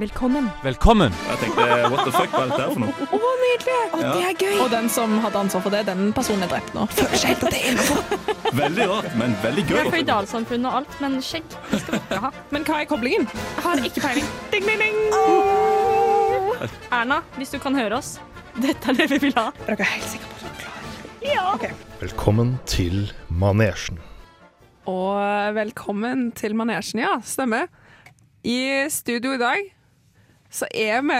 Velkommen. Velkommen! Jeg tenkte what the fuck, hva er dette her for noe? Å, nydelig! Å, Det er gøy. Og den som hadde ansvar for det, den personen er drept nå. Føler seg helt at det er innenfor. Veldig rart, men veldig gøy. Jeg er føydalsamfunn og alt, men skjegg det skal dere ha. Men hva er koblingen? Jeg har ikke peiling. Ding, ding, ding. Erna, hvis du kan høre oss, dette er det vi vil ha. Er dere helt sikre på at dere klarer? Velkommen til manesjen. Og velkommen til manesjen, ja. Stemmer. I studio i dag så er vi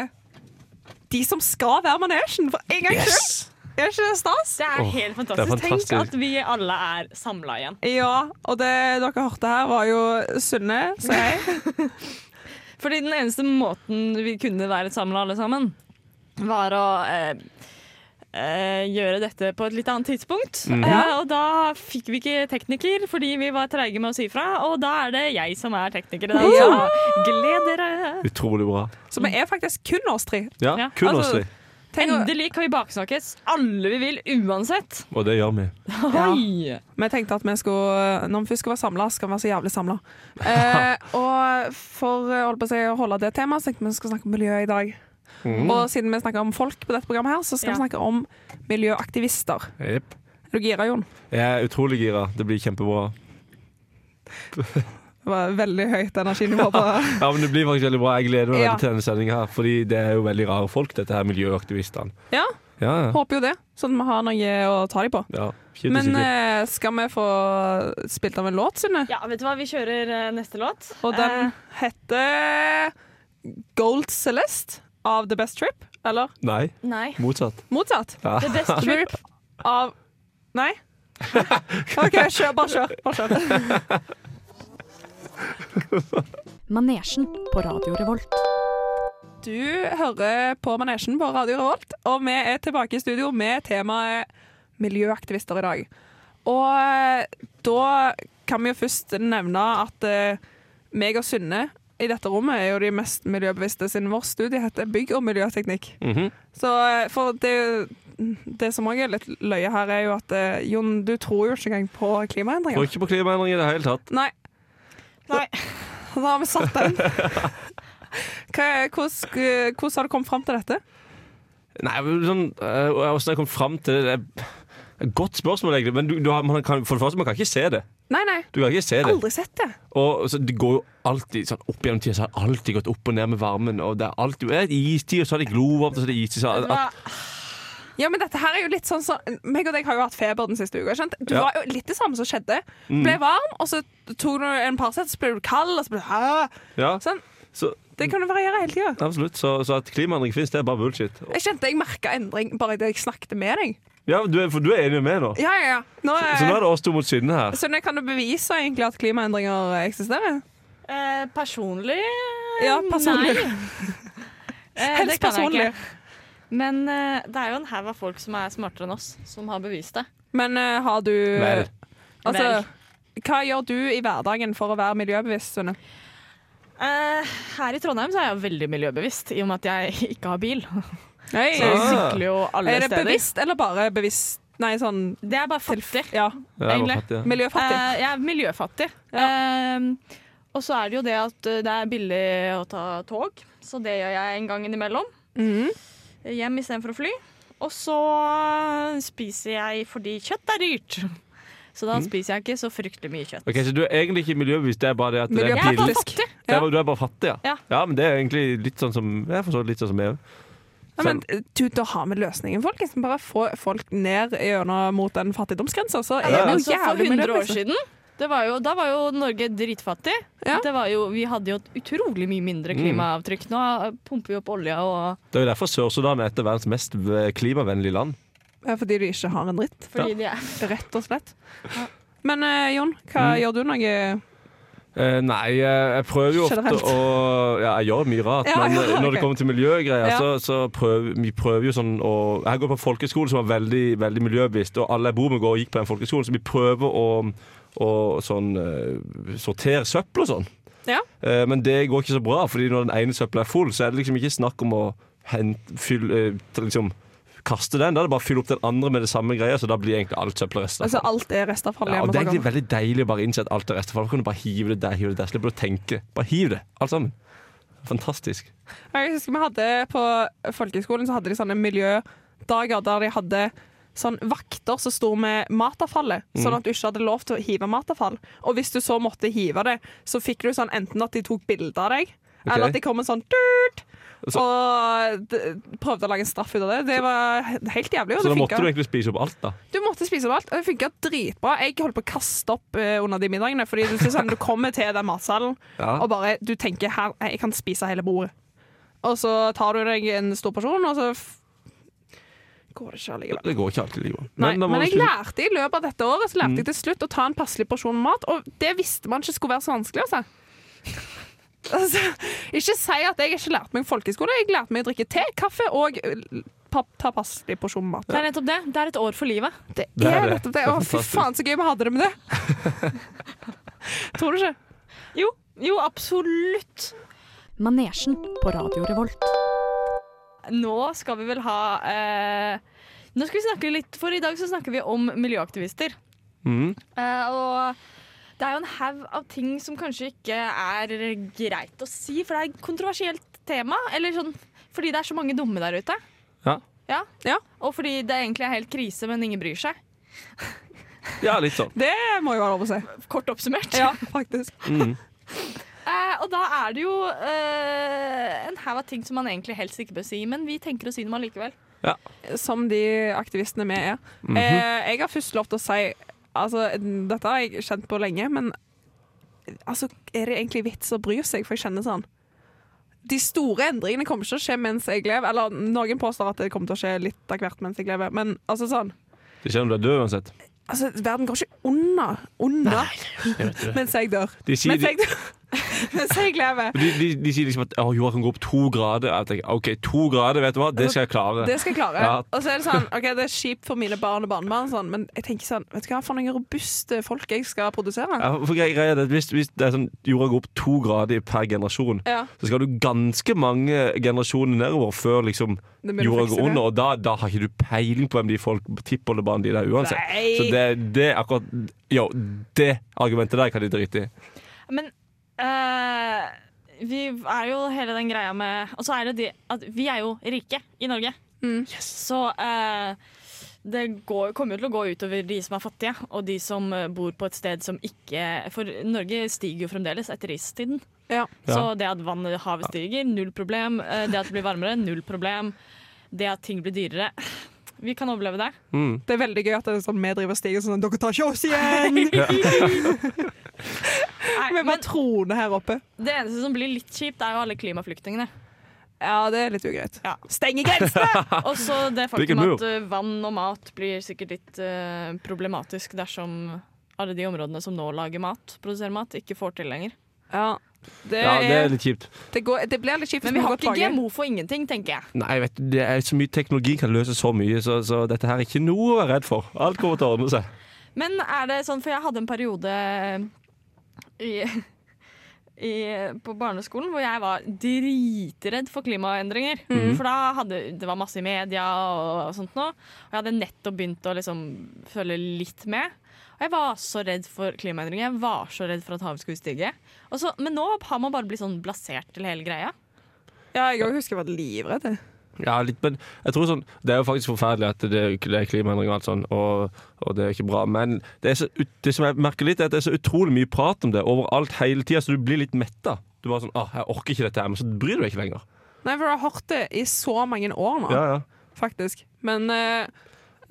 de som skal være manesjen for en gangs skyld. Er ikke det stas? Det er Åh, helt det er fantastisk. fantastisk. Tenk at vi alle er samla igjen. Ja, og det dere hørte her var jo Sunne, sa jeg. Fordi den eneste måten vi kunne være samla alle sammen, var å eh, eh, gjøre dette på et litt annet tidspunkt. Mhm. Eh, og da fikk vi ikke tekniker fordi vi var treige med å si fra, og da er det jeg som er tekniker i dag. Ja. Så gled dere! Utrolig bra. Så vi er faktisk kun oss tre. Ja, Ja, kun altså- oss, tre. Tenk, å- Endelig kan vi baksnakkes alle vi vil, uansett. og det gjør vi. Oi! Vi tenkte at vi skulle, når vi først skal være samla, skal vi være så jævlig samla. Eh, og for eh, holdt på å, si, å holde det temaet, så tenkte vi vi skulle snakke om miljø i dag. Og siden vi snakker om folk på dette programmet, her, så skal Ja. vi snakke om miljøaktivister. Jep. Er du gira, Jon? Jeg er utrolig gira. Det blir kjempebra. Det var veldig høyt energinivå på Ja, men Det blir faktisk veldig bra. Jeg gleder meg Ja. veldig til denne sendingen her. Fordi det er jo veldig rare folk, dette her miljøaktivistene. Ja, Ja, ja. håper jo det. Sånn at vi har noe å ta dem på. ja. Shit, Men sikkert. eh, skal vi få spilt av en låt, Synne? Ja, vet du hva, vi kjører eh, neste låt. Og Eh, den heter Gold Celeste av The Best Trip. Eller Nei, nei. motsatt. motsatt. The Best Trip. Trip av Nei? OK, kjør. Bare kjør. Bare kjør. Manesjen på Radio Revolt. Du hører på Manesjen på Radio Revolt, og vi er tilbake i studio med temaet miljøaktivister i dag. Og eh, da kan vi jo først nevne at eh, meg og Synne i dette rommet er jo de mest miljøbevisste, siden vår studie heter bygg- og miljøteknikk. Mhm. Så eh, for det, det som òg er litt løye her, er jo at eh, Jon, du tror jo ikke engang på Tror klimaendringer. ikke på klimaendringer i det hele tatt. Nei. Nei. Da har vi satt den. Hva, er- hvordan, eh, hvordan har du kommet fram til dette? Nei, men sånn, eh, Hvordan jeg kom fram til det det er et Godt spørsmål, egentlig. Men du, du har, man kan, for det første, man kan ikke se det. Nei, nei. Du kan ikke se det. Aldri sett det. Og så Det går jo alltid sånn opp gjennom tida, så har det alltid gått opp og ned med varmen. Og det er alltid det er istid, og så er det glovarmt, og så er det istid. Så, Vet du at, hva? Ja, men dette her er jo litt sånn som Meg og deg har jo hatt feber den siste uka. Skjønt? Du Ja. Mm. var jo litt det samme som skjedde. Ble varm, og så tok du en Paracet, så ble du kald, og så ble du Hæ? ja, Sånn. så, Det kan jo variere hele tida. absolutt. Så, så at klimaendring finnes, det er bare bullshit. Jeg kjente jeg merka endring bare idet jeg snakket med deg. Ja, du er, For du er enig med meg nå? Ja, ja, ja. Nå er, Så nå er det oss to mot synde her. Så nå kan du bevise egentlig at klimaendringer eksisterer? Eh, personlig? Ja, personlig. Nei. Eh, det kan Helst jeg personlig. ikke. Men eh, det er jo en haug av folk som er smartere enn oss, som har bevist det. Men eh, har du Vel. Altså, hva gjør du i hverdagen for å være miljøbevisst, Sunne? Eh, her i Trondheim så er jeg jo veldig miljøbevisst, i og med at jeg ikke har bil. Nei, Så jeg Ah. sykler jo alle er det steder. bevisst eller bare bevisst Nei, sånn Det er bare fattig. ja, Ja, jeg var Egentlig. fattig, ja. miljøfattig. Eh, jeg er miljøfattig. Eh, og så er det jo det at eh, det er billig å ta tog, så det gjør jeg en gang innimellom. Mhm. Hjem istedenfor å fly. Og så eh, spiser jeg fordi kjøtt er dyrt. Så da spiser jeg ikke så fryktelig mye kjøtt. Mm. Ok, Så du er egentlig ikke miljøbevisst, det er bare det at det er Jeg er pillen. bare Miljøpolitisk. fattig. Det er bare- Du er bare fattig, ja. Ja. men det er egentlig litt sånn som Jeg forstår litt sånn som Sånn, jeg òg. Ja, men eh, du, da har vi løsningen, folkens. Bare få folk ned gjennom mot den fattigdomsgrensa, så er Ja, vi men jo så for jævlig 100 år miljøbevisste. siden det var jo, Da var jo Norge dritfattig. Ja. Det var jo, vi hadde jo et utrolig mye mindre Mm. klimaavtrykk. Nå eh, pumper vi opp olje og Det er jo derfor Sør-Sudan er et av verdens mest eh, klimavennlige land. Ja, Fordi du ikke har en dritt, Fordi de er rett og slett. Men eh, Jon, hva Mm. gjør du noe Eh, nei, eh, jeg prøver jo ofte Generelt. å Ja, jeg gjør mye rart, Ja, men ja, eh, når ok. det kommer til miljøgreier, Ja. så, så prøver vi prøver jo sånn å Jeg går på en folkeskole som er veldig, veldig miljøbevisst, og alle jeg bor med, går og gikk på den folkeskolen, så vi prøver å, å sånn, eh, sortere søppel og sånn. Ja. Eh, men det går ikke så bra, Fordi når den ene søpla er full, så er det liksom ikke snakk om å hente, fyll, eh, til liksom, kaste den. Da er det bare å fylle opp den andre med det samme greia, så da blir egentlig alt søppelresten. Altså, alt er restavfall. Ja, hjemme og Det er bak egentlig oss. veldig deilig å bare innse at alt er restavfall. Man kan du bare hive det der, hive det der. Slipper du å tenke. Bare hiv det, alt sammen. Fantastisk. Og Jeg husker vi hadde På folkeskolen så hadde de sånne miljødager der de hadde sånn vakter som sto med matavfallet, Mhm. sånn at du ikke hadde lov til å hive matavfall. Og hvis du så måtte hive det, så fikk du sånn enten at de tok bilde av deg, eller at de kom med sånn tut, Så- og d- prøvde å lage en straff ut av det. Det var helt jævlig, Så og det da måtte du funka. egentlig spise opp alt, da. Du måtte spise opp alt, og det funka dritbra. Jeg holdt på å kaste opp eh, under de middagene, fordi du, sånn, du kommer til den matsalen, Ja. og bare du tenker her, jeg kan spise hele bordet. Og så tar du deg en stor porsjon, og så f går det ikke allikevel. Det går ikke alltid like bra. Nei, da men, må du jeg spise- Mm. lærte i løpet av dette året Så lærte jeg til slutt å ta en passelig porsjon mat, og det visste man ikke skulle være så vanskelig. Altså. Altså, ikke si at jeg ikke lærte meg folkeskole. Jeg lærte meg å drikke te, kaffe og eh, pa- ta passelig porsjon mat. Det er nettopp det. Det er et år for livet. Det Det er er det. nettopp Det det. er Å, fy fantastisk. faen, så gøy vi hadde det med det. Tror du ikke? Jo, jo, absolutt. Manesjen på Radio Revolt. Nå skal vi vel ha eh, Nå skal vi snakke litt, for i dag så snakker vi om miljøaktivister. Mhm. Eh, og det er jo en haug av ting som kanskje ikke er greit å si, for det er et kontroversielt tema. Eller sånn fordi det er så mange dumme der ute. Ja. Ja. Ja. Og fordi det egentlig er helt krise, men ingen bryr seg. ja, litt sånn. Det må jo være lov å si. Kort oppsummert. Ja, faktisk. Mhm. Eh, og da er det jo eh, en haug av ting som man egentlig helst ikke bør si, men vi tenker å si dem allikevel. Som de aktivistene vi er. eh, jeg har først lov til å si Altså, dette har jeg kjent på lenge, men altså, er det egentlig vits å bry seg? For jeg kjenner sånn De store endringene kommer ikke til å skje mens jeg lever. Eller noen påstår at det kommer til å skje litt av hvert mens jeg lever, men altså sånn Det skjer når du er død uansett. Altså, verden går ikke unna, unna mens jeg dør. De sier, Mens de, jeg, dør. mens jeg lever. de, de, de sier liksom at å, jorda kan gå opp to grader. Jeg tenker, OK, to grader, vet du hva, det skal jeg klare. Det skal jeg klare. Ja. Og så er det sånn, ok, det er kjipt for mine barn og barnebarn, sånn, men jeg tenker sånn Vet du hva for noen robuste folk jeg skal produsere? Ja, for greia er det at hvis, hvis det er sånn, jorda går opp to grader per generasjon, Ja. så skal du ganske mange generasjoner nedover før liksom, Det blir jorda faktisk går det. under. Og da, da har ikke du peiling på hvem de folk tippoldebarna dine er uansett. Nei. Så det, det er akkurat Jo, det argumentet der kan de drite i. Men eh, vi er jo hele den greia med Og så er det de at vi er jo rike i Norge. Så eh, det går, kommer jo til å gå utover de som er fattige, og de som eh, bor på et sted som ikke For Norge stiger jo fremdeles etter istiden. Ja. Så det at vannet i havet stiger, null problem. Eh, Det at det blir varmere, null problem. Det at ting blir dyrere. Vi kan overleve det. Mm. Det er veldig gøy at det er sånn, vi driver og stiger sånn Dere tar ikke oss igjen! Nei, Vi men bare troner her oppe. det eneste som blir litt kjipt, er jo alle klimaflyktningene. Ja, det er litt ugreit. Ja. Stenge grensene! Og så det Bygger faktum mur. at eh, vann og mat blir sikkert litt eh, problematisk dersom alle de områdene som nå lager mat, produserer mat, ikke får til lenger. Ja. Det, Ja, det er, er litt kjipt. det, går, det blir litt kjipt. hvis Men vi har går ikke tilbake. GMO for ingenting, tenker jeg. Nei, vet du, det er så mye teknologi kan løse så mye, så, så dette her er ikke noe å være redd for. Alt kommer til å ordne seg. Men er det sånn, for jeg hadde en periode eh, i, i, på barneskolen hvor jeg var dritredd for klimaendringer. For da hadde, det var masse i media og sånt nå, og jeg hadde nettopp begynt å liksom følge litt med. Og jeg var så redd for klimaendringer, jeg var så redd for at havet skulle stige. Og så, men nå har man bare blitt sånn blasert til hele greia. Ja, jeg også husker jeg var livredd. jeg. Ja, litt, men jeg tror sånn Det er jo faktisk forferdelig at det, det er klimaendringer og alt sånn, og, og det er ikke bra. Men det, er så, ut- det som jeg merker litt, er at det er så utrolig mye prat om det overalt hele tida, så du blir litt metta. Du bare sånn ah, 'Jeg orker ikke dette her', men så bryr du deg ikke lenger. Nei, for jeg har hørt det i så mange år nå, Ja, ja. faktisk. Men eh,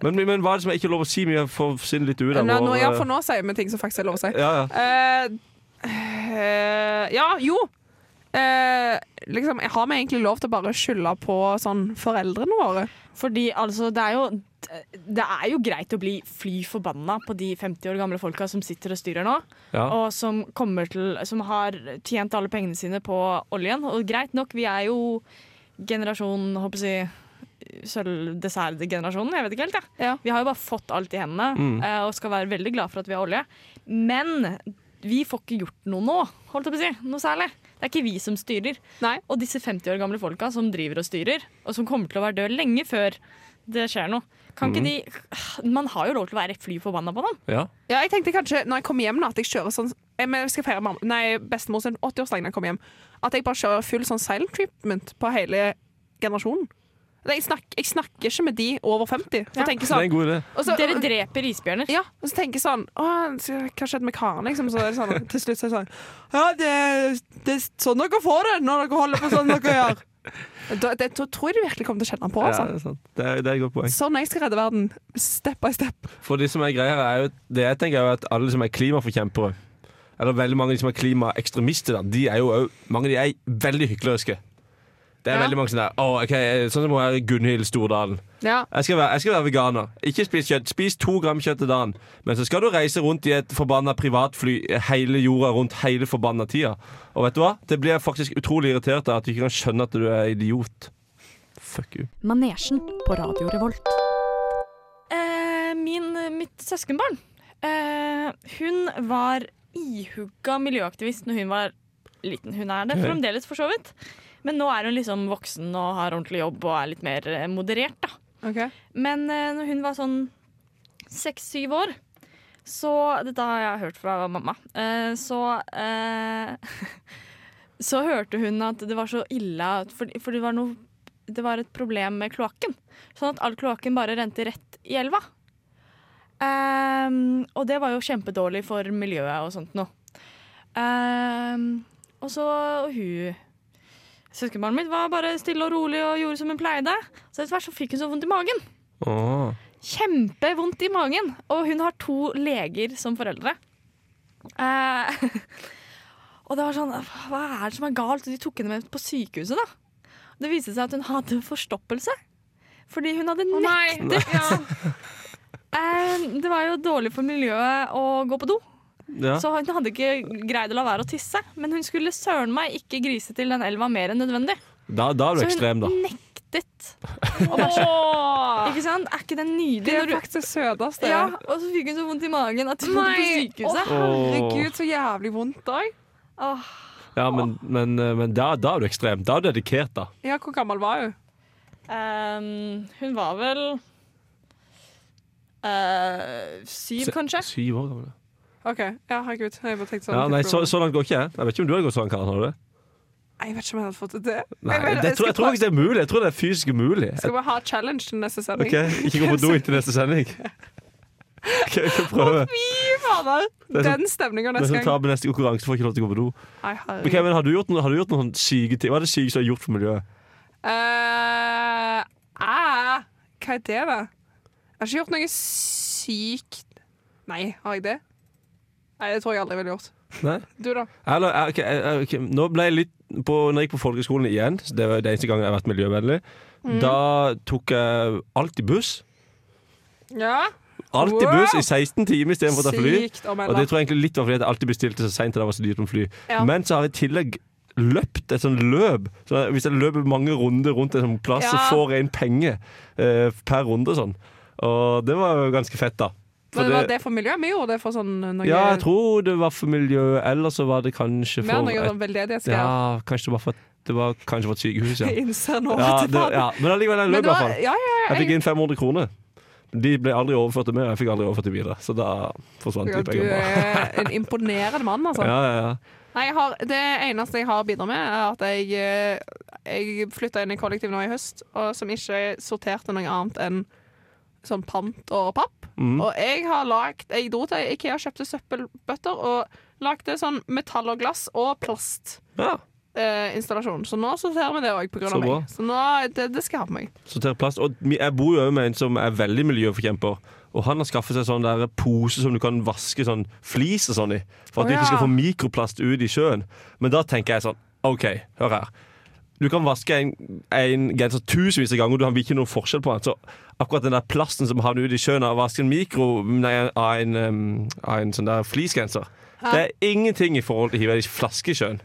Men, men, men hva er det som jeg ikke er lov å si? Vi får sinne litt ut av Nå, nå, vår, ja, eh, for nå sier vi ting som faktisk er lov å si. ja, ja. Eh, eh, ja, jo. Eh, liksom, har vi egentlig lov til å bare skylde på sånn foreldrene våre? Fordi altså, det er jo det er jo greit å bli fly forbanna på de 50 år gamle folka som sitter og styrer nå. ja. og som, kommer til, som har tjent alle pengene sine på oljen. Og greit nok, vi er jo generasjon håper jeg, å si, sølvdessertgenerasjonen. Jeg vet ikke helt, jeg. Ja. Mm. Vi har jo bare fått alt i hendene eh, og skal være veldig glad for at vi har olje. Men vi får ikke gjort noe nå, holdt jeg på å si. Noe særlig. Det er ikke vi som styrer. Nei. Og disse 50 år gamle folka som driver og styrer, og som kommer til å være død lenge før det skjer noe. Kan Mm. ikke de Man har jo lov til å være fly forbanna på dem. Ja. Ja, jeg tenkte kanskje når jeg kommer hjem, da, at jeg kjører sånn jeg men jeg skal feire mamma, nei, bestemor sin 80-årsdag når jeg kommer hjem. At jeg bare kjører full sånn silent treatment på hele generasjonen. Nei, Jeg, snakk, jeg snakker ikke med de over 50. For Ja. å tenke Det er sånn, en god idé. og så, Dere dreper isbjørner. ja, og så tenker jeg sånn Å, hva skjedde med Karen? Liksom, så er det sånn, til slutt så er det sånn Ja, det, det er sånn dere får det når dere holder på sånn dere gjør. Da, det, da tror jeg du virkelig kommer til å kjenne på. Ja, Altså. det, er sant. Det, er, det er et godt poeng. Sånn jeg skal redde verden. Step by step. For det som er greia her, er jo Det jeg tenker er jo at alle som er klimaforkjempere Eller veldig mange av de som er klimaekstremister da, De er jo også, mange av de er veldig hykleriske Det er Ja. veldig mange sånne der Åh, ok, sånn som hun er Gunnhild Stordalen Ja. jeg skal, være, jeg skal være veganer Ikke spis kjøtt, spis to gram kjøtt i dagen Men så skal du reise rundt i et forbannet privatfly Hele jorda rundt hele forbannet tida Og vet du hva? Det blir jeg faktisk utrolig irritert av At du ikke kan skjønne at du er idiot Fuck you Manesjen på Radio Revolt. Eh, min, mitt søskenbarn eh, Hun var ihugga miljøaktivist når hun var liten. Hun er det Ok. fremdeles, for så vidt. Men nå er hun liksom voksen og har ordentlig jobb og er litt mer eh, moderert. da. Men eh, når hun var sånn seks-syv år, så Dette har jeg hørt fra mamma. Eh, så eh, Så hørte hun at det var så ille at For, for det, var noe, det var et problem med kloakken. Sånn at all kloakken bare rente rett i elva. Ehm, og det var jo kjempedårlig for miljøet og sånt noe. Ehm, og så og hun Søskenbarnet mitt var bare stille og rolig og gjorde som hun pleide. Så etter hvert så fikk hun så vondt i magen Åh, kjempevondt i magen, og hun har to leger som foreldre. Eh, og det var sånn Hva er det som er galt? Og de tok henne med på sykehuset, da. Det viste seg at hun hadde forstoppelse. Fordi hun hadde nett... Nei. Eh, det var jo dårlig for miljøet å gå på do, ja. så hun hadde ikke greid å la være å tisse. Men hun skulle søren meg ikke grise til den elva mer enn nødvendig. Da, da er du Så hun ekstrem da nektet. å bæsje. Ikke sant? Er ikke det sånn, Det nydelig? er når du- faktisk det søteste. Ja, og så fikk hun så vondt i magen at hun måtte på Nei. sykehuset. Å, herregud, så jævlig vondt òg. Åh. Ja, men, men, eh, men da, da er du ekstrem Da er du dedikert da Ja, hvor gammel var hun? Ehm, hun var vel eh, syv, Se- kanskje? Syv år gammel OK. Ja, herregud. Jeg bare tenkte sånn Ja, nei, så, så langt går ikke jeg. Jeg vet ikke om du hadde gått sånn, Karen. Har du det? Nei, Jeg vet ikke om jeg hadde fått til det. Nei, jeg, vet- det, jeg, tror, jeg tror faktisk det er mulig. Jeg tror det er fysisk mulig. Skal vi ha challenge til neste sending? Ok, Ikke gå på do inntil neste sending. Ok, Vi får prøve. Fy fader! er sånn- Den stemninga Den neste som gang. taper neste konkurranse, får ikke lov til å gå på do. Nei, Ok, herregud. men Har du gjort noen, har du gjort noen sånne syke ting? Hva er det syke som er gjort for miljøet? Eh, æ, hva er det, da? Jeg har ikke gjort noe sykt Nei, har jeg det? Nei, det tror jeg aldri jeg ville gjort. Nei? Du, da? Eller, eh, ok, eh, ok, Nå ble jeg litt på, Når jeg gikk på folkeskolen igjen, så det var den eneste gangen jeg har vært miljøvennlig, Mm. da tok jeg alltid buss. Ja? Alltid Wow! buss i 16 timer istedenfor å ta fly. Sykt å Og det melde. tror jeg egentlig litt var fordi at jeg alltid bestilte så seint. Ja. Ja. Men så har jeg i tillegg løpt et sånn løp. Så hvis jeg løper mange runder rundt en sånn plass, Ja. så får jeg en penge eh, per runde. og Sånn. Og det var jo ganske fett, da. For Men var det- det for miljøet? Vi gjorde det for sånn noe ja, jeg tror det var for miljøet. Eller så var det kanskje mer for noe et, sånn veldedighetsgreier. Ja, kanskje det var for, det var kanskje for et sykehus, ja. Jeg innser nå ja, at det, ja. Men allikevel, jeg Men løp det i hvert var, fall. ja, ja, Jeg fikk inn 500 kroner. De ble aldri overført til meg, og jeg fikk aldri overført til videre. Så da forsvant ja, de du pengene. bare. er en imponerende mann, altså. Ja, ja, ja. Nei, jeg har, det eneste jeg har bidratt med, er at jeg, eh, jeg flytta inn i kollektiv nå i høst, og som ikke sorterte noe annet enn sånn pant og papp. Mm. Og jeg har lagt Jeg dro til IKEA og kjøpte søppelbøtter og lagde sånn metall og glass og plastinstallasjon. ja. Eh, installasjon. så nå sorterer vi det òg, på grunn Så av bra. meg. Så nå, det, det skal jeg ha på meg. Sortere plast. Og mi- jeg bor jo også med en som er veldig miljøforkjemper. Og han har skaffet seg sånn der pose som du kan vaske sånn flis og sånn i. For at Å, du ikke skal ja. få mikroplast ut i sjøen. Men da tenker jeg sånn OK, hør her. Du kan vaske en, en genser tusenvis av ganger, og du har ikke noen forskjell på den. Så akkurat den der plasten som havner ute i sjøen av å vaske en mikro Nei, av en, um, av en sånn der fleecegenser, det er ingenting i forhold til å hive ei flaske i sjøen.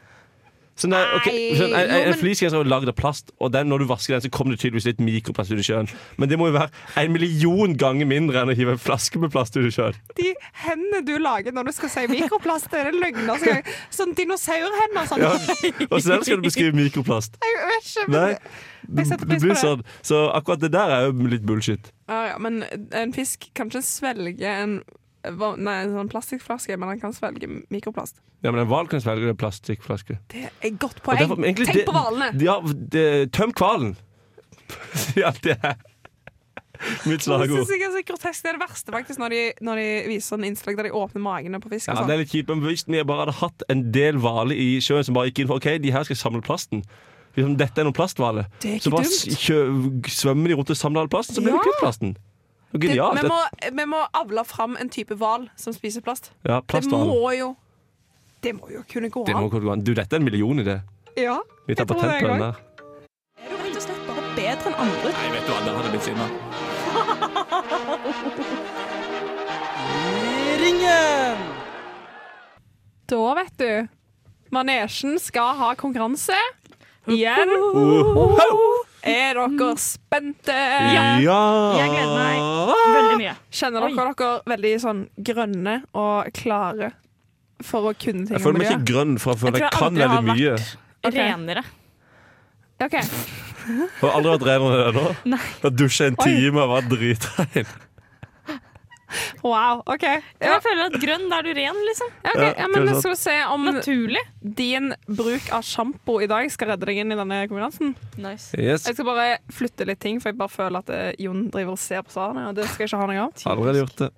Sånn der, ok, Nei, sånn, en, jo, en men- fleecegenser er jo lagd av plast, og den, når du vasker den, så kommer det tydeligvis litt mikroplast ut i sjøen. Men det må jo være en million ganger mindre enn å hive en flaske med plast ut i sjøen. De hendene du lager når du skal si mikroplast, det er det løgner. som jeg- Sånn dinosaurhender. Sånn. Ja. Og så skal du beskrive mikroplast. Jeg vet ikke, men, Nei, jeg setter det pris på blir det. sånn. Så akkurat det der er jo litt bullshit. Ja, ja, men en fisk kan ikke svelge en hva- Nei, en sånn plastikkflaske, men den kan svelge mikroplast. Ja, men en hval kan svelge en plastikkflaske. Det er et godt Og poeng. derfor- men egentlig Tenk det- på hvalene! Ja, det, tøm hvalen! Ja, det er mitt Det slagord. synes jeg er så grotesk. Det er det verste faktisk når de, når de viser sånn innslag der de åpner magene på fisk. Ja, Og sånn. det er litt kjipt, men Hvis vi bare hadde hatt en del hvaler i sjøen som bare gikk inn for OK, de her skal samle plasten. Liksom, dette er noen plasthvaler. Det er ikke Så bare dumt. s- kjø- svømmer de rundt og samler all plasten, så blir Ja. det kvitt plasten. Og Det- Genialt. vi, må, vi må avle fram en type hval som spiser plast. ja, Det plasthvaler. må jo Det må jo kunne gå Det må an. kunne gå an. Du, dette er en millionidé. Ja, Vi tar jeg tror patent det på den en gang. der. Er du rett og slett bare bedre enn andre? Nei, vet du hva, der hadde jeg blitt sinna. Da, vet du. Manesjen skal ha konkurranse igjen. Er dere spente? Ja! Jeg gleder Ah! meg veldig mye. Kjenner dere dere veldig sånn grønne og klare for å kunne ting Jeg føler meg miljø? ikke grønn, for jeg Jeg føler tror jeg jeg kan aldri har veldig mye. Ok. Renere. Ok. Jeg har aldri vært renere enn det nå. Nei. Jeg dusja en Oi. time og var dritrein. Wow. OK. Ja, Jeg føler at grønn, da er du ren, liksom. ja, ok. Ja, ja, men kanskje Skal vi se om Naturlig. din bruk av sjampo i dag skal redde deg inn i denne konkurransen. Nice. Yes, Jeg skal bare flytte litt ting, for jeg bare føler at eh, Jon driver og ser på svarene. Og det skal jeg ikke ha noe av. allerede gjort det.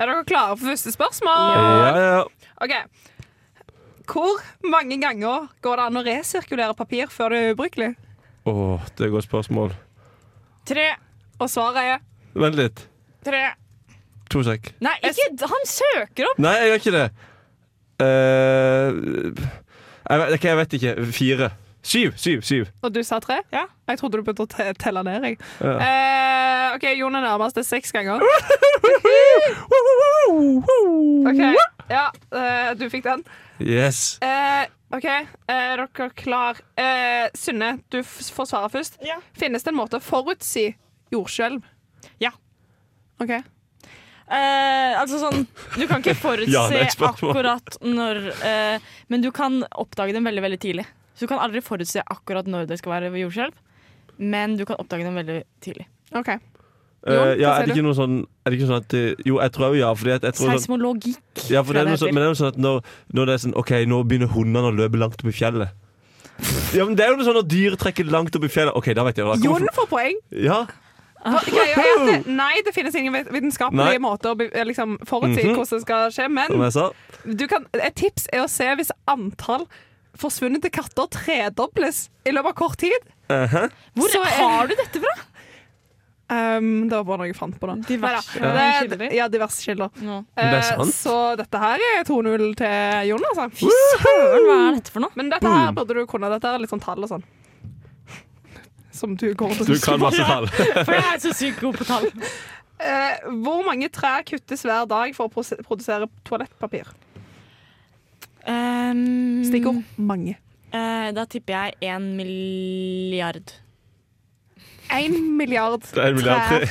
Er dere klare for første spørsmål? Ja, ja, ja. OK. Hvor mange ganger går det an å resirkulere papir før det er ubrukelig? Åh, det er et godt spørsmål. Tre. Og svaret er Vent litt. tre. To sek. Nei, ikke Han søker opp! Nei, jeg gjør ikke det. Eh, jeg, vet, ok, jeg vet ikke. Fire. Syv, syv, syv. Og du sa tre? Ja. Jeg trodde du begynte å te telle ned, jeg. Ja. Eh, OK, Jon er nærmest. Det er seks ganger. OK. Ja, eh, du fikk den. Yes. Eh, OK, eh, er dere klar? Eh, Synne, du f får svare først. Ja. Finnes det en måte å forutsi jordskjelv? Ja. OK. Eh, altså sånn, Du kan ikke forutse Ja, det er et spørsmål. akkurat når eh, Men du kan oppdage dem veldig veldig tidlig. Så du kan aldri forutse akkurat når det skal være jordskjelv, men du kan oppdage dem veldig tidlig. ok. Eh, Jon, hva ja, er sier det ikke noe sånn Er det ikke sånn at eh, Jo, jeg tror jo ja, fordi at jeg tror sånn, Seismologi. ja, for det er noe tror jeg sånn, Men det er noe sånn at når, når det er sånn OK, nå begynner hundene å løpe langt opp i fjellet. Ja, men Det er jo noe sånn når dyr trekker langt opp i fjellet. OK, da vet jeg det. Jon får poeng. Ja. Ah. Greia er at det- Nei, det finnes ingen vit- Nei. vitenskapelige måter å be- eh, liksom, forutsi Mhm. hvordan det skal skje, Som men jeg sa. du kan, et tips er å se hvis antall forsvunne katter tredobles i løpet av kort tid. Uh Hvor Så eh, er- har du dette fra? Um, det var bare noe jeg fant på nå. Diverse Neida, det- kilder. Ja, diverse kilder. Nå. Men det er Eh, sant. Så dette her er 2-0 til Jon, altså. Fy søren, hva er dette for noe? Men dette her burde du kunne. Dette her er litt sånn tall og sånn. Som du går til Du kan masse tall. For jeg er så sykt god på tall. Eh, Hvor mange trær kuttes hver dag for å prose- produsere toalettpapir? Um, Stikkord mange. eh, da tipper jeg én milliard. Én milliard Det er en milliard trær tre. hver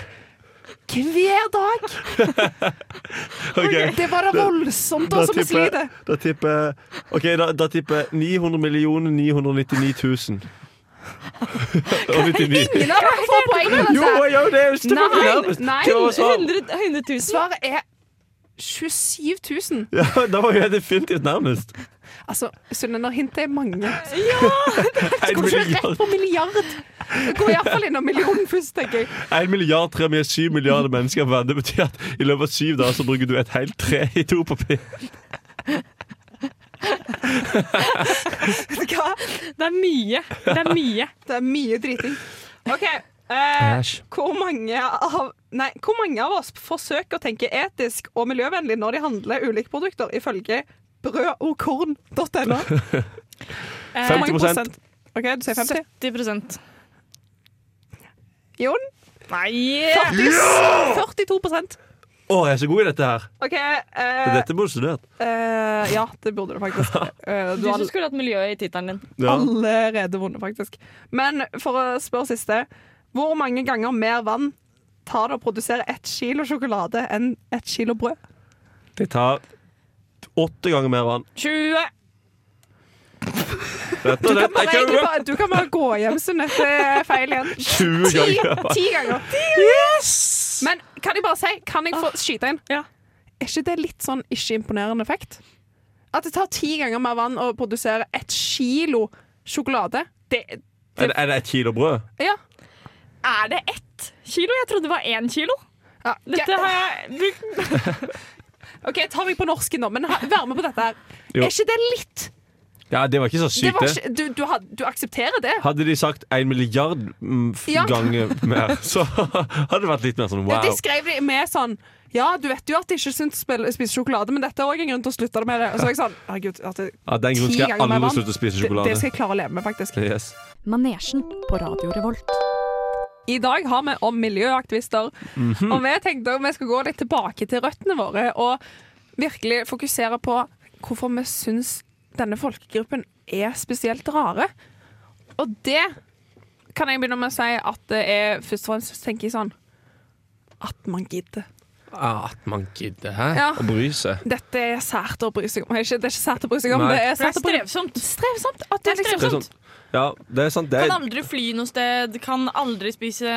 dag! Ok. Det var da voldsomt Da å som tipper, sliter. da tipper jeg- Ok, da, da tipper jeg 900 millioner 999 000. Og 99. Ingen av dere får poeng altså. med Jo, dette. jeg gjør det! Jeg stemmer Nei, nærmest. nei, Hva var svaret? 100 000? Svaret er 27 000. Ja, da var jeg definitivt nærmest. Altså, Sunne, når hintet er mange, En går du ikke milliard, rett på milliard. Det går iallfall innom millionen først, tenker jeg. en milliard tre med syv milliarder mennesker på verden. Det betyr at i løpet av syv dager så bruker du et helt tre i to papir. Hva? Det er mye. Det er mye. Det er mye driting. OK. Eh, hvor, mange av, nei, hvor mange av oss forsøker å tenke etisk og miljøvennlig når de handler ulike produkter, ifølge brødogkorn.no? Hvor mange 50%. prosent? OK, du sier 50? 70 Jon? Nei! 40, 42 Å, jeg er så god i dette her! OK. eh, Dette burde du studert. eh, ja, det burde du faktisk. Eh, Du du har som skulle hatt miljøet i tittelen din. Ja. allerede vunnet, faktisk. Men for å spørre siste Hvor mange ganger mer vann tar det å produsere ett kilo sjokolade enn ett kilo brød? Det tar åtte ganger mer vann. 20! Rett og slett. Men Jeg kan egentlig bare, du kan bare gå hjem, Sunette. Feil igjen. 20 ganger Ti ganger. Men kan jeg bare si, kan jeg Ah. få skyte inn? Ja. Er ikke det litt sånn ikke-imponerende effekt? At det tar ti ganger mer vann å produsere ett kilo sjokolade. Det, Er det, er det et kilo brød? ja. Er det ett kilo? Jeg trodde det var én kilo. ja. Dette har jeg brukt OK, jeg tar meg på norsken nå, men ha- vær med på dette her. Jo. Er ikke det litt Ja, det var ikke så det sykt, var det. ikke, du, du, had, du aksepterer det? Hadde de sagt en milliard mm, f- Ja. ganger mer, så hadde det vært litt mer sånn wow. De skrev det med sånn ja, du vet jo at de ikke syns spille- spise sjokolade, men dette er òg en grunn til å slutte med det. Og så var jeg sånn, herregud, at det, Av den grunn Ti skal jeg ganger mer aldri vann. slutte å spise det, det sjokolade. skal jeg klare å leve med, faktisk. Yes. Manesjen på Radio Revolt. I dag har vi om miljøaktivister, og vi tenkte at vi skulle gå litt tilbake til røttene våre og virkelig fokusere på hvorfor vi syns denne folkegruppen er spesielt rare. Og det kan jeg begynne med å si at det er først og fremst tenker jeg sånn at man gidder. At man gidder hæ? Ja. å bry seg. Dette er sært å bry seg om. Ikke- Det er ikke sært å bry seg om, Nei. det er sært å bry strevsomt. Strevsomt. At det er liksom Det er sånn, ja, det er sant. Det Kan er, aldri fly noe sted, kan aldri spise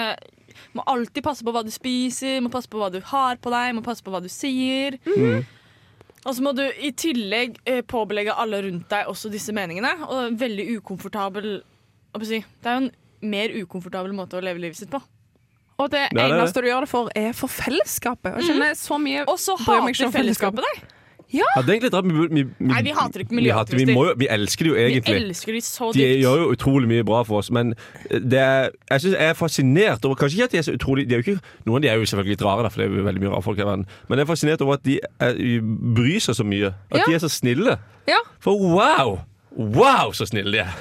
Må alltid passe på hva du spiser, må passe på hva du har på deg, må passe på hva du sier. Mhm. Og så må du i tillegg eh, påbelegge alle rundt deg også disse meningene. Og veldig ukomfortabel hva skal jeg si, Det er jo en mer ukomfortabel måte å leve livet sitt på. Og det det er det. eneste du gjør det for, er for fellesskapet. Jeg kjenner Mhm. så mye Og så Bryr meg ikke hater om fellesskapet. fellesskapet deg. ja, det er egentlig rart. Vi, vi, vi, Nei, vi hater ikke vi hater- vi, miljøaktivister. må jo- vi elsker det jo Vi egentlig. elsker de så De dypt. gjør jo utrolig mye bra for oss, men eh, det er, jeg synes jeg er fascinert over Kanskje ikke at de er så utrolig de er jo ikke, Noen av de er jo selvfølgelig litt rare, da, for det er jo veldig mye rare folk i verden. Men jeg er fascinert over at de er, bryr seg så mye. At Ja. de er så snille. Ja. For wow! Wow, så snille de er!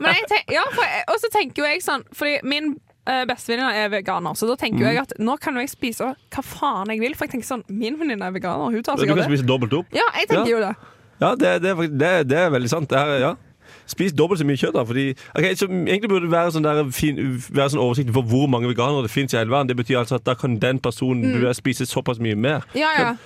Men jeg tenk, ja, for, og så tenker jo jeg sånn Fordi min eh, bestevenninne er veganer, så da tenker Mhm. jo jeg at nå kan jo jeg spise hva faen jeg vil. For jeg tenker sånn, min venninne er veganer, og hun tar Du seg av kan det. spise dobbelt opp. Ja, jeg tenker Ja. jo det. Ja, det, det, er fakt- det, det er veldig sant. Det er, ja. Spis dobbelt så mye kjøtt, da. Fordi, ok, så egentlig burde det være sånn, der, fin, være sånn oversikten for hvor mange veganere det fins i hele verden. Det betyr altså at da kan den personen Mm. du er, spise såpass mye mer. Ja, ja,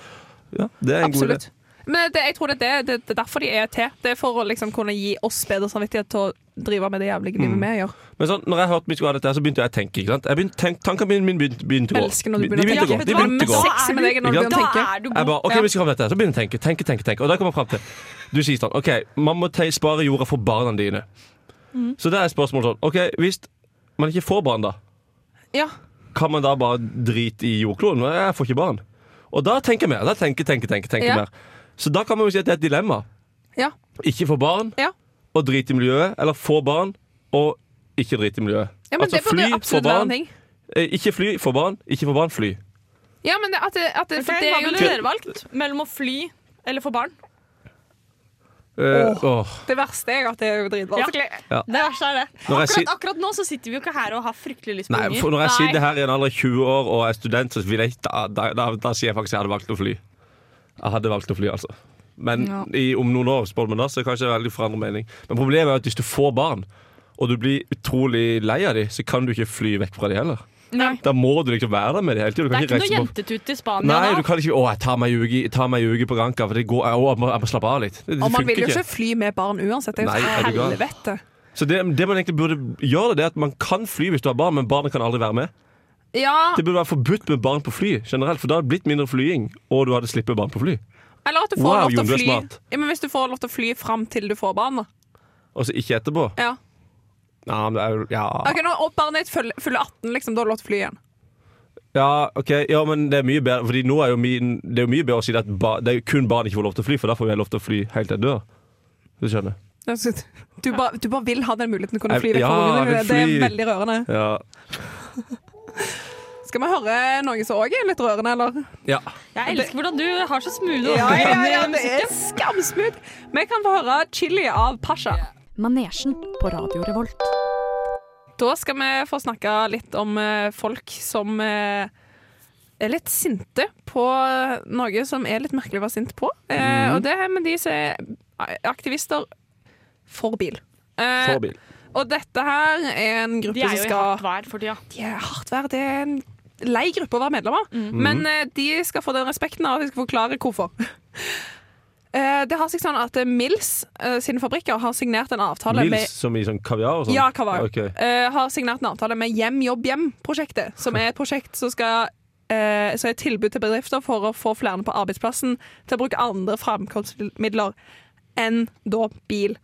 Ja, det er en god idé. absolutt. Men det, jeg tror det er, det, det, det er derfor de er til. Det er for å liksom kunne gi oss bedre samvittighet til å drive med det jævlige livet vi gjør. Men sånn, når jeg hørte vi skulle ha dette, her, så begynte jeg å tenke. ikke sant? Jeg begynte, tenk, tankene mine, mine begynte, begynte å gå. Elsker når du de begynner å begynte å gå. tenke. De begynte å Det gå. var sexy med deg når du Ikke begynner å tenke. Da er du Jeg god. bare, ok, Ja. vi skal ha med dette her. Så begynner jeg å tenke, tenke, tenke, tenke. Og da kommer jeg frem til, du sier sånn, ok, man må te spare jorda for barna dine. Mm. Så der er spørsmålet sånn, ok, hvis man ikke får barn da, Ja. kan man da bare drite i jordkloden? Jeg får ikke barn. Og da tenker jeg mer, da tenker, tenker, tenker, tenker Ja. mer. Så da kan man jo si at det er et dilemma. Ja. Ikke få barn, Ja. og drite i miljøet, eller få barn, og ikke drite i miljøet. Altså, Ja, men det burde absolutt være en ting. eh, ikke fly, få barn, ikke få barn, fly. Ja, men det, at det, at det, Ok, for det Hva er jo ville dere valgt? Mellom å fly eller få barn? Eh, åh. det verste er jo at det er jo dritvanskelig. Det verste er det. Når jeg Akkurat, sit- akkurat nå så sitter vi jo ikke her og har fryktelig lyst på Nei, unger. for når jeg Nei. sitter her i en alder av 20 år og er student, så vil jeg, da, da, da, da sier jeg faktisk jeg hadde valgt å fly. Jeg hadde valgt å fly, altså. Men Ja. i, om noen år, spør du meg da, så er det kanskje veldig forandret mening. Men problemet er at hvis du får barn, og du blir utrolig lei av dem, så kan du ikke fly vekk fra dem heller. Nei. Da må du liksom være der med dem hele tiden. Du Det kan er ikke noe reise på- jentetut i Spania Nei, da. du kan ikke 'Å, jeg tar meg en uke, jeg tar meg en uke på Granca, for det går, å, jeg, må, jeg må slappe av litt'. Det, det Og man funker vil jo ikke fly med barn uansett. Det er Nei, jo er du så gal? helvete. Så det, det man egentlig burde gjøre, det er at man kan fly hvis du har barn, men barnet kan aldri være med. Ja, Det burde være forbudt med barn på fly generelt, for da hadde det blitt mindre flying, og du hadde sluppet barn på fly. eller at du får Wow, lov til Jon, du å er fly smart. ja, men Hvis du får lov til å fly fram til du får barn, da. Og så ikke etterpå. Ja. Ja, men det er jo Ja, Ok, nå, og barnet ditt fyller fyller 18, liksom, da har du lov til å fly igjen. ja OK. Ja, men det er mye bedre Fordi nå er jo min, det er jo mye bedre å si det at ba, det er jo kun barn ikke får lov til å fly, for da får jeg lov til å fly helt til jeg dør. Du skjønner? Det er så- Du bare, du bare vil ha den muligheten til å Jeg- kunne fly vekk fra ja, ungene. jeg vil dine. Det er fly. veldig rørende. Ja. Skal vi høre noe som òg er litt rørende, eller? ja. Jeg elsker hvordan du har så smooth Ja, ja, ja, overgang i det er musikken. skamsmooth. Vi kan få høre 'Chili' av Pasha. Manesjen på Radio Revolt. Da skal vi få snakke litt om eh, folk som eh, er litt sinte på eh, noe som er litt merkelig å være sint på. Eh, Mhm. Og det er med de som er aktivister for bil. Eh, For bil. Og dette her er en gruppe De er som jo i skal hardt vær for tida. de er hardt vær. Det er en lei gruppe å være medlem av. Mhm. Mhm. Men eh, de skal få den respekten av at de skal forklare hvorfor. Eh, det har seg sånn at eh, Mills eh, sine fabrikker har signert en avtale med Mils som i sånn kaviar og sånn? ja, Kavar. Ok. Eh, har signert en avtale med Hjem Jobb Hjem-prosjektet, som er et prosjekt som skal eh, som er et tilbud til bedrifter for å få flere på arbeidsplassen til å bruke andre framkomstmidler enn da bil.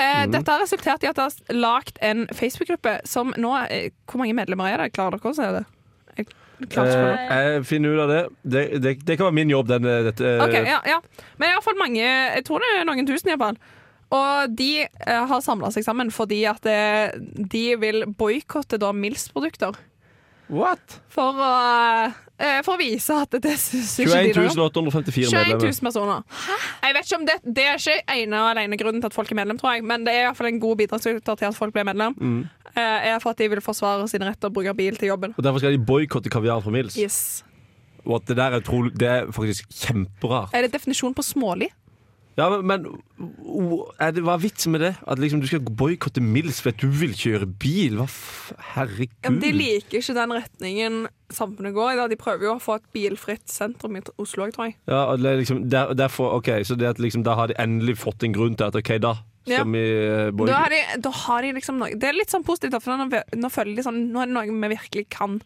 Eh, Mhm. Dette har resultert i at det er lagd en Facebook-gruppe som nå eh, Hvor mange medlemmer er det? Klarer dere å se det? Jeg klarer ikke å se det. Eh, jeg finner ut av det. Det, det. det kan være min jobb, den eh, dette, eh, Ok, ja, ja. Men i hvert fall mange, jeg tror det er noen tusen i hvert fall. Og de eh, har samla seg sammen fordi at eh, de vil boikotte da Mils produkter. What? For å, eh, for å vise at det syns ikke de 21 noe om. 854 21 medlemmer. 000 personer. Jeg vet ikke om det, det er ikke ene og alene grunnen til at folk er medlem, tror jeg, men det er i hvert fall en god bidragsyter til at folk blir medlem. eh, er for at de vil forsvare sin rett til å bruke bil til jobben. Og Derfor skal de boikotte kaviar fra Mils. Yes. Og at det der er, utrolig- det er faktisk kjemperart. Er det definisjonen på smålig? Ja, men, men o- er det, Hva er vitsen med det? At liksom du skal boikotte Mils for at du vil kjøre bil? Hva f... Ja, men Herregud. de liker ikke den retningen samfunnet går i. da. De prøver jo å få et bilfritt sentrum i Oslo, jeg tror jeg. Ja, og det er liksom, der, derfor, ok, Så det at liksom, da har de endelig fått en grunn til at OK, da skal Ja. vi eh, Da boikotte har de, da har de liksom noe Det er litt sånn positivt, da, for nå, nå føler de sånn Nå er det noe vi virkelig kan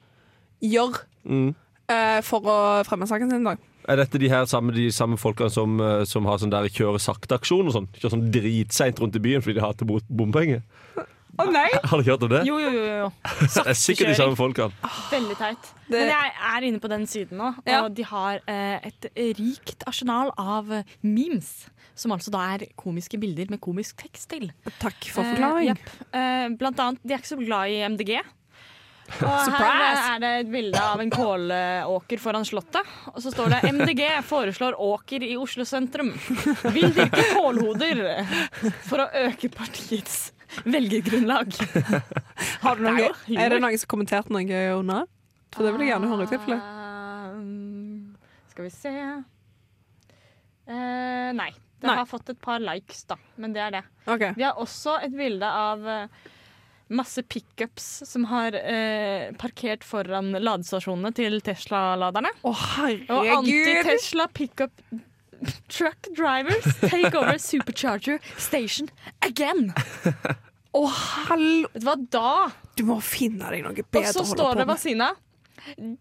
gjøre Mm. eh, for å fremme saken sin i dag. Er dette de her samme, de samme folkene som, eh, som har sånn der kjøre sakte-aksjon og sånn? Kjører sånn dritseint rundt i byen fordi de hater bot- bompenger? Å nei! Har du hørt om det? Jo, jo, jo. jo. det er sikkert de samme folkene. Veldig teit. Det- Men jeg er inne på den siden nå, og Ja. de har eh, et rikt arsenal av eh, memes. Som altså da er komiske bilder med komisk tekst til. Takk for forklaring. Eh, jepp. Eh, blant annet, de er ikke så glad i MDG. Og her Surprise! eh, er det et bilde av en kålåker foran Slottet. Og så står det 'MDG foreslår åker i Oslo sentrum'. Vil dyrke kålhoder for å øke partiets velgergrunnlag. Har du Det noe, er jo humor. er det noen som kommenterte noe under? For det vil jeg gjerne høre i tilfelle. Ehm, Skal vi se Eh, Nei. Det Nei. har fått et par likes, da. Men det er det. Ok. Vi har også et bilde av eh, masse pickups som har eh, parkert foran ladestasjonene til Tesla-laderne. Å, Og herregud! anti-Tesla pickup truck drivers take over supercharger station again. Å, hell... Vet du hva da? Du må finne deg noe Og bedre så å holde står på det med. ved siden av.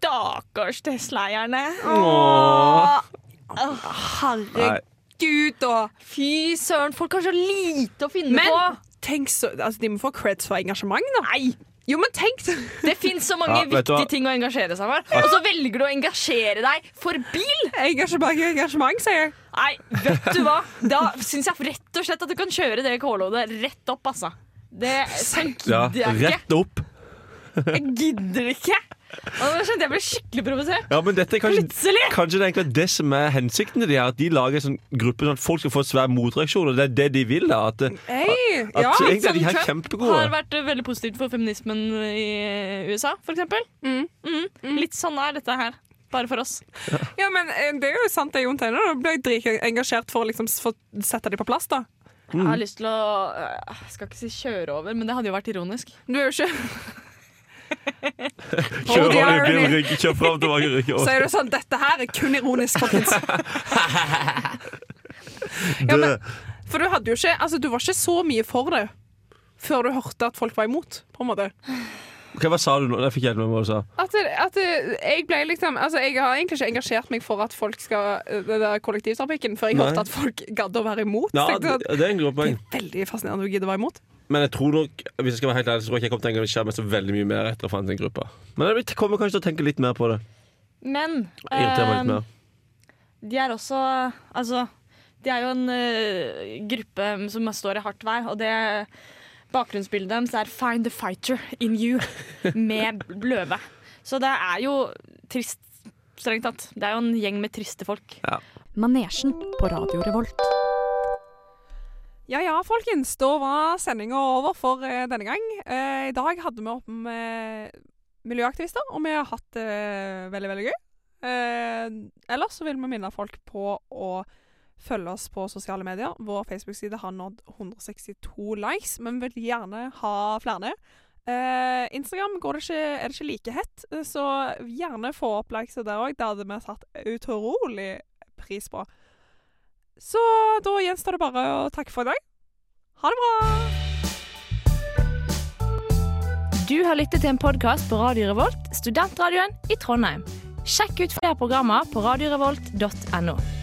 Dakkars Tesla-eierne. sånn, Herregud, da! Fy søren, folk har så lite å finne Men på! tenk så, altså, de må få creds for engasjement, da. Nei. Jo, men tenk så Det fins så mange Ja, vet du viktige hva? ting å engasjere seg for, og så velger du å engasjere deg for bil! Engasjement, engasjement, sier jeg. Nei, vet du hva? Da syns jeg rett og slett at du kan kjøre det kålhodet rett opp, altså. Det sånn Ja, gidder jeg ikke. rett opp. Jeg gidder ikke. Og nå skjønte jeg jeg ble skikkelig provosert. Ja, men dette er kanskje, Plutselig! kanskje det er egentlig det som er hensikten til de her. At de lager en sånn gruppe sånn at folk skal få en svær motreaksjon, og det er det de vil. da At, at Hei, ja. sånn egentlig er de som her Trump Har kjempegode. vært eh, veldig positivt for feminismen i eh, USA, for eksempel. Mhm. Litt sånn er dette her. Bare for oss. ja, men eh, det er jo sant det Jon Teiner. Da blir jeg dritengasjert for å liksom s- få sette dem på plass, da. Jeg Mm. har lyst til å øh, Skal ikke si kjøre over, men det hadde jo vært ironisk. Du er jo ikke Kjør, Oh, over the i irony. bil, rygg- kjør fram tilbake, rygg Så over. er det sånn, dette her er kun ironisk, folkens. ja, men, for du hadde jo ikke Altså, du var ikke så mye for det før du hørte at folk var imot, på en måte. Ok, hva sa du nå? Jeg fikk ikke helt med meg hva du sa. At, at jeg ble liksom Altså, jeg har egentlig ikke engasjert meg for at folk skal Det der kollektivtrafikken, før jeg Nei. hørte at folk gadd å være imot. Ja, Så jeg tenkte at, det det er en god det poeng. er veldig fascinerende at du gidder å være imot. Men jeg tror nok hvis jeg skal være helt ærlig, så tror jeg ikke jeg kommer til å engasjere meg så veldig mye mer etter å ha funnet en gruppe. Men jeg kommer kanskje til å tenke litt mer på det. Men Irritere eh, meg Um, litt mer. de er også Altså, de er jo en eh, gruppe som står i hardt vær, og det bakgrunnsbildet deres er 'Find the fighter in you' med løve. Så det er jo trist, strengt tatt. Det er jo en gjeng med triste folk. Manesjen på Radio Revolt. Ja ja, folkens. Da var sendinga over for eh, denne gang. Eh, I dag hadde vi opp med miljøaktivister, og vi har hatt det veldig, veldig gøy. Eh, ellers så vil vi minne folk på å følge oss på sosiale medier. Vår Facebook-side har nådd 162 likes, men vi vil gjerne ha flere. Eh, Instagram går det ikke, er det ikke like hett, eh, så gjerne få opp likes der òg. Det hadde vi satt utrolig pris på. Så da gjenstår det bare å takke for i dag. Ha det bra! Du har lyttet til en podkast på Radio Revolt, studentradioen i Trondheim. Sjekk ut flere programmer på radiorevolt.no.